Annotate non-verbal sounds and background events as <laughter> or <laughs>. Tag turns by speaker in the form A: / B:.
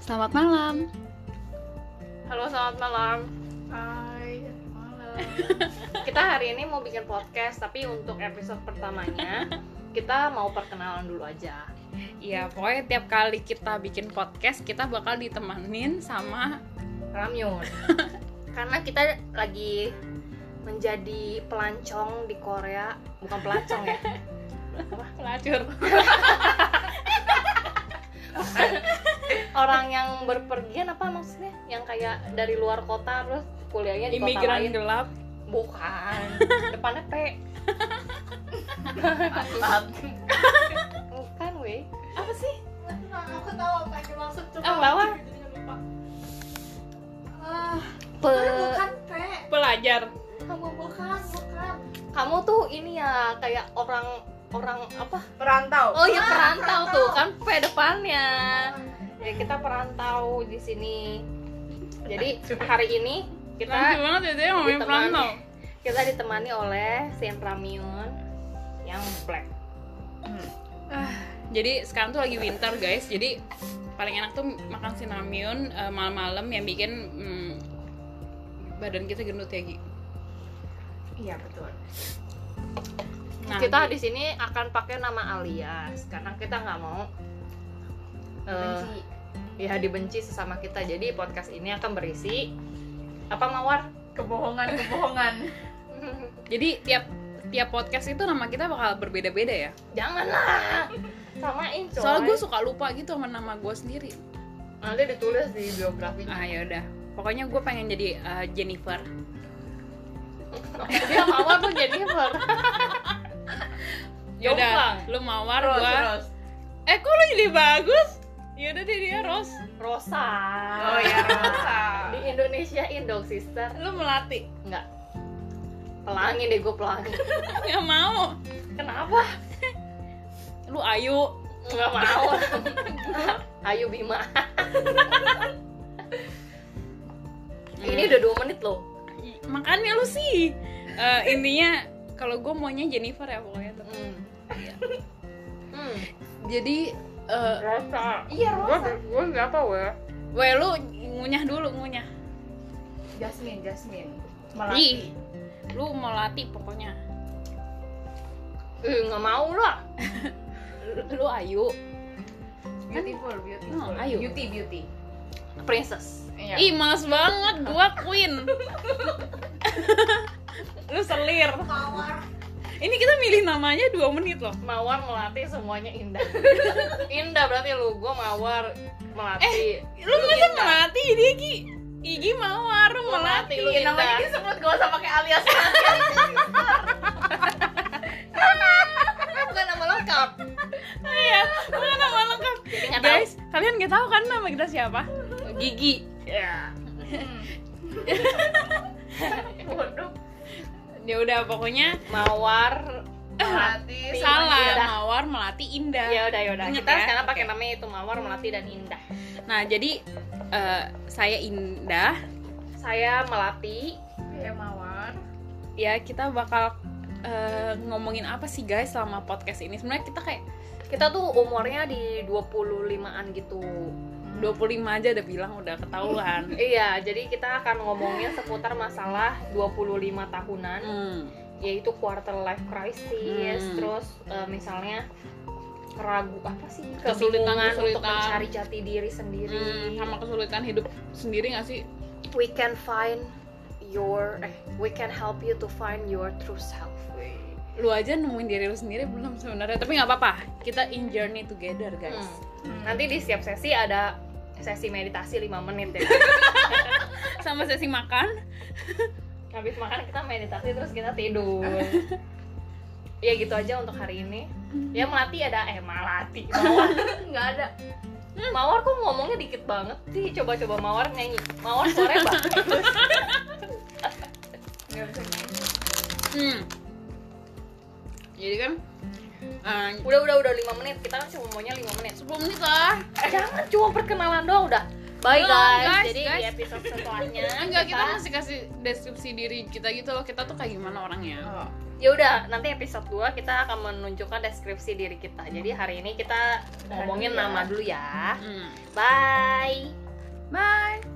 A: Selamat malam.
B: Halo, selamat malam.
C: Hai, malam.
B: <laughs> Kita hari ini mau bikin podcast, tapi untuk episode pertamanya kita mau perkenalan dulu aja.
C: Iya, pokoknya tiap kali kita bikin podcast, kita bakal ditemanin sama
B: Ramyun.
C: <laughs>
B: Karena kita lagi menjadi pelancong di Korea, bukan pelancong
C: <laughs>
B: ya.
C: pelacur.
B: Orang yang berpergian apa maksudnya? Yang kayak dari luar kota terus kuliahnya di kota
C: Imigran
B: lain.
C: gelap.
B: Bukan. Depannya P.
C: <laughs>
B: <laughs> Bukan, weh.
C: Apa sih?
D: aku tahu apa yang dimaksud cuma
B: Ah, bawah.
D: jadinya lupa ah
B: Pe
D: bukan pe
C: Pelajar.
D: kamu bukan bukan
B: kamu tuh ini ya kayak orang orang apa
E: perantau
B: oh ya
D: Ah,
B: perantau
D: perantau.
B: tuh kan p depannya ya kita perantau di sini jadi hari ini
C: Lanjut
B: kita
C: banget ya, dia ngomongin
B: ditemani-
C: pelantau.
B: kita ditemani oleh Sen Ramyun yang black Ah.
C: Jadi sekarang tuh lagi winter guys, jadi paling enak tuh makan sinamiun eh, malam-malam yang bikin mm, badan kita gendut ya Gi.
E: iya betul
C: Nah,
B: kita
C: Gi,
B: di sini akan pakai nama alias karena kita nggak mau eh,
E: benci
B: ya dibenci sesama kita jadi podcast ini akan berisi apa mawar
E: kebohongan kebohongan
C: jadi tiap tiap podcast itu nama kita bakal berbeda-beda ya.
B: janganlah samain coy
C: Soalnya gue suka lupa gitu sama nama gue sendiri.
B: nanti ditulis di biografi
C: Ah ya udah. Pokoknya gue pengen jadi eh, Jennifer.
B: dia mawar tuh Jennifer
C: Ya udah,
B: Jomplang.
C: lu mawar
E: terus
C: gua.
E: terus
C: Eh, kok lu jadi bagus? Ya udah deh dia Ros.
B: Rosa
E: oh ya Rosa
B: di Indonesia dong sister
C: Lu melatih.
B: enggak pelangi deh gue pelangi
C: Gak mau.
B: kenapa
C: Lu Ayu.
B: nggak mau Ayu Bima ini udah dua menit loh
C: makanya lu sih Eh, intinya kalau gue maunya Jennifer ya pokoknya tuh
B: hmm. Hmm.
C: jadi eh
B: Rosa
D: iya rosa
B: gue nggak tahu ya
C: weh lu ngunyah dulu ngunyah
E: Jasmine Jasmine
C: Ih, lu mau latih pokoknya
B: eh nggak mau lah
C: lu ayu
E: beautiful beautiful
C: Oh, ayo.
E: beauty beauty
B: princess
E: iya
C: ih males banget gua <laughs> queen lu selir
D: mawar
C: ini kita milih namanya dua menit loh
B: mawar melatih semuanya indah
C: <laughs>
B: indah berarti lu gue mawar melatih
C: lu masa melatih dia ki Igi mawar lu melatih
B: melatih, Iya, lu indah.
E: namanya disebut gak usah pakai alias
B: Kan bukan nama lengkap
C: iya bukan nama lengkap
B: Jadi nggak tahu.
C: guys kalian nggak tahu kan nama kita siapa Gigi <laughs>
B: ya
E: bodoh
C: ya udah pokoknya
B: mawar Iya,
E: hati
C: Eh, salah
B: Indah.
C: mawar melati indah
B: ya udah ya udah
C: Ingat
B: kita
C: ya?
B: sekarang pakai
C: Oke.
B: namanya itu mawar melati dan indah
C: nah jadi eh, saya indah
B: saya melati
E: ya mawar
C: ya kita bakal eh, ngomongin apa sih guys selama podcast ini sebenarnya kita kayak
B: kita tuh umurnya di 25-an gitu
C: 25 aja udah bilang udah ketahuan
B: <laughs> iya jadi kita akan ngomongin seputar masalah 25 tahunan
C: hmm.
B: yaitu quarter life crisis
C: Hmm.
B: terus eh, misalnya ragu apa sih
C: Kesulitan-
B: kebingungan untuk
C: kesulitan.
B: mencari jati diri
C: Hmm,
B: sendiri
C: sama kesulitan hidup sendiri gak sih
B: we can find your eh we can help you to find your true self
C: lu aja nemuin diri lu sendiri belum sebenarnya tapi nggak apa-apa kita in journey together guys
B: Hmm. nanti di setiap sesi ada sesi meditasi 5 menit ya
C: sama sesi makan
B: habis makan kita meditasi terus kita tidur ya gitu aja untuk hari ini ya melati ada eh melati mawar nggak ada Hmm. mawar kok ngomongnya dikit banget sih coba-coba mawar nyanyi mawar suaranya bagus
E: nggak bisa nyanyi
C: hmm. jadi kan eh,
B: udah udah udah lima menit kita kan cuma maunya lima menit
C: 10 menit lah
B: jangan cuma perkenalan doang udah Bye
C: Belum,
B: guys.
C: guys,
B: Jadi di
C: guys.
B: episode setelahnya
C: Enggak, kita masih kasih deskripsi diri kita gitu loh. Kita tuh kayak gimana orangnya.
E: Oh.
B: ya udah nanti episode 2 kita akan menunjukkan deskripsi diri kita. Jadi hari ini kita ngomongin
E: Udah.
B: nama dulu ya.
C: Hmm.
B: Bye.
E: Bye.